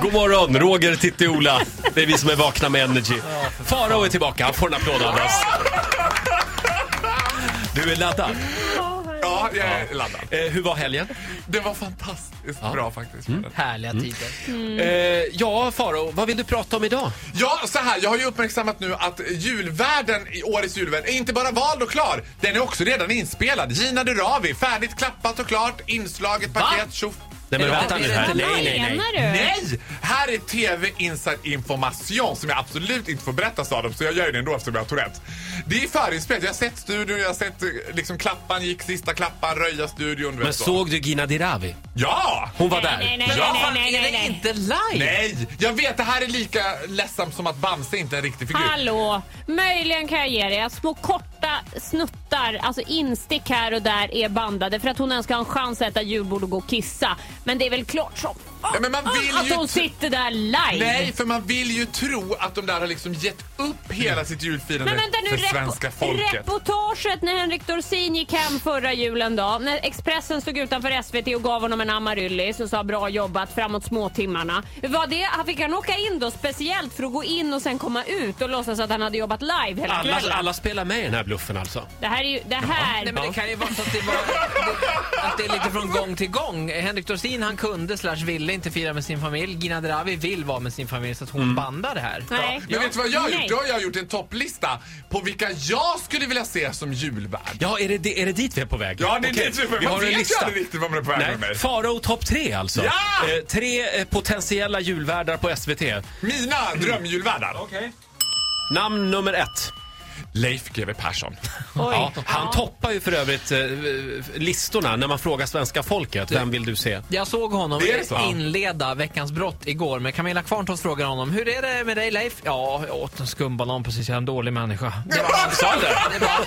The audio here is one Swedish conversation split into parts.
God morgon, Roger, Titti, Ola. Det är vi som är vakna med Energy. Farao är tillbaka, han får en applåd av oss. Du är laddad. Ja, jag är laddad. Eh, hur var helgen? Det var fantastiskt bra faktiskt. Härliga tider. Mm. Eh, ja, Farao, vad vill du prata om idag? Ja, så här. Jag har ju uppmärksammat nu att julvärlden, i årets julvärld, är inte bara vald och klar. Den är också redan inspelad. Gina Durawi, färdigt klappat och klart. Inslaget, paket, tjoff. Nej, men vänta nu här. Vad Nej, nej, nej. menar du? Nej! Här är TV Inside information som jag absolut inte får berätta sa de, så jag gör det ändå eftersom jag har Tourettes. Det är förinspelat. Jag har sett studion, jag har sett eh, liksom klappan gick, sista klappan, röja studion. du Men vet såg du Gina Dirawi? Ja! Hon var Nej, där. nej, nej, Ja, nej, Fan, nej, är nej, det nej. inte live? Nej! Jag vet, det här är lika ledsamt som att Bamse inte är en riktig figur. Hallå! Möjligen kan jag ge dig att små korta snuttar, alltså instick här och där, är bandade för att hon ens ska ha en chans att äta julbord och gå och kissa. Men det är väl klart som Ja, men man vill att ju hon tr- sitter där live! Nej, för man vill ju tro att de där har liksom gett upp hela sitt julfirande Men vänta nu, för svenska folket. reportaget när Henrik Dorsin gick hem förra julen då. När Expressen stod utanför SVT och gav honom en amaryllis och sa bra jobbat framåt småtimmarna. Var det, han fick han åka in då speciellt för att gå in och sen komma ut och låtsas att han hade jobbat live hela Alla, kvällen? alla spelar med i den här bluffen alltså. Det här är ju, det här. Nej men det kan ju vara så att det, var, att det är lite från gång till gång. Henrik Dorsin han kunde slash ville inte fira med sin familj. Gina Dravi vill vara med sin familj så att hon bandar det här. Nej. Men vet du vad jag har Nej. gjort? Då har jag gjort en topplista på vilka jag skulle vilja se som julvärd. Ja, är det, di- är det dit vi är på väg? Ja, det är Okej, dit vi är på väg. Vi Man har en vet ju lista. aldrig riktigt vad man är på väg med mig. Farao topp tre alltså. Ja! Eh, tre eh, potentiella julvärdar på SVT. Mina drömjulvärdar. Namn nummer ett. Leif GW Persson. Oj. Ja, han toppar ju för övrigt eh, listorna när man frågar svenska folket. Vem vill du se? Jag såg honom Det är det så? inleda Veckans brott igår men Camilla Kvarntorp frågade honom Hur är det med dig Leif? Ja, jag åt en skumbanan precis, jag är en dålig människa. Det var han som sa det. det var,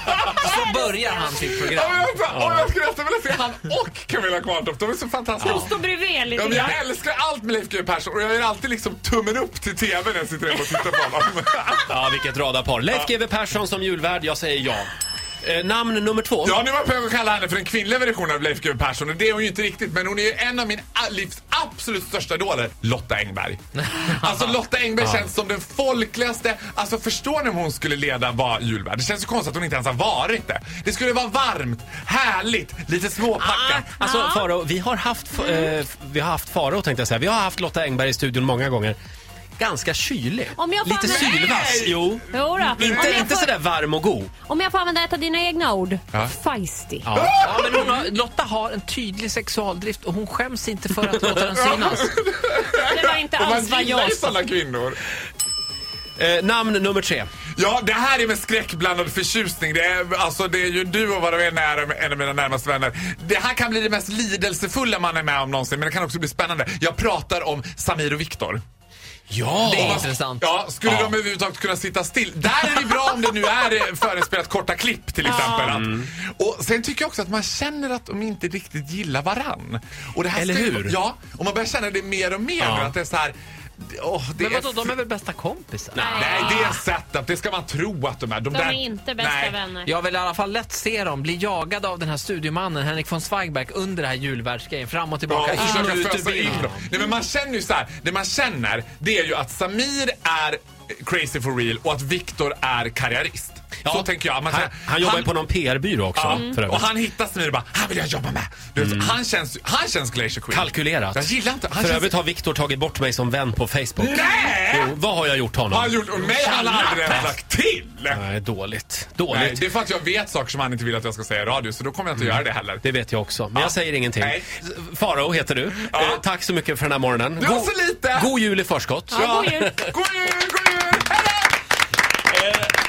så börjar han sitt Ja, program. men vänta, Åh, jag skulle nästan vilja se han och Camilla Kvarntorp. De är så fantastiska. Stå bredvid Ja, lite men grann. jag älskar allt med Leif GW Persson och jag gör alltid liksom tummen upp till TV när jag sitter hemma och tittar på honom. Ja, vilket radarpar. Leif GW Persson som julvärd, jag säger ja. Eh, namn nummer två. Ja, nu var jag på väg att kalla henne för den kvinnliga versionen av Leif GW Persson och det är hon ju inte riktigt men hon är ju en av min a- livs absolut största idoler, Lotta Engberg. Alltså Lotta Engberg känns som den folkligaste, alltså förstår ni om hon skulle leda var julvärd? Det känns ju konstigt att hon inte ens har varit det. Det skulle vara varmt, härligt, lite småpackat. Alltså Faro, vi har haft, f- eh, f- vi har haft Faro tänkte jag säga. Vi har haft Lotta Engberg i studion många gånger. Ganska kylig. Om jag får Lite använda- sylvass. Jo. Jo då. Om, Inte, jag inte får, sådär varm och god. om jag får använda ett av dina egna ord. Ja. Feisty. Ja, men hon har, Lotta har en tydlig sexualdrift och hon skäms inte för att låta den synas. Det var inte Och man alls vad gillar jag ju sådana kvinnor. Eh, namn nummer tre. Ja, det här är med skräckblandad förtjusning. Det är, alltså, det är ju du och vad du är nära, en av mina närmaste vänner. Det här kan bli det mest lidelsefulla man är med om någonsin, men det kan också bli spännande. Jag pratar om Samir och Viktor. Ja! Det är intressant. Ja, skulle Ja. de överhuvudtaget kunna sitta still? Där är det bra om det nu är eh, förinspelat korta klipp till exempel. Att, och sen tycker jag också att man känner att de inte riktigt gillar varann. Och det här Eller ska ju- hur? Ja, och man börjar känna det mer och mer. Ja. Att det är så här, åh, det Men är vadå, de är väl bästa kompisar? Nej, det är setup. Det ska man tro att de är. De är inte bästa Nej. vänner. Jag vill i alla fall lätt se dem bli jagade av den här studiomannen Henrik von Zweigbergk under det här julvärldsgrejen. Fram och Ja, tillbaka, och in och försöka ut ur fösa in bilen. dem. Nej, men man känner ju så här, det man känner det är ju att Samir är crazy for real och att Viktor är karriärist. Så tänker jag. Man han, känner- han jobbar ju på någon PR-byrå också. Ja, Mm. För och övrigt. Mm. han hittar Samir och bara, han vill jag jobba med. Du vet, han, känns, han känns Glacier Queen. Kalkylerat. Jag gillar inte, han För känns... övrigt har Viktor tagit bort mig som vän på Facebook. Nej! Jo, vad har jag gjort honom? Har han gjort, och mig har han aldrig ens sagt till! Nej, dåligt. Nej, Dåligt. det är för att jag vet saker som han inte vill att jag ska säga i radio, så då kommer jag inte göra det heller. Mm. Det vet jag också, men jag säger ingenting. Nej. Farao heter du. Ja. Eh, tack så mycket för den här morgonen. Det var så lite! god jul i förskott. Ja, god jul. God jul, god jul! Hej då!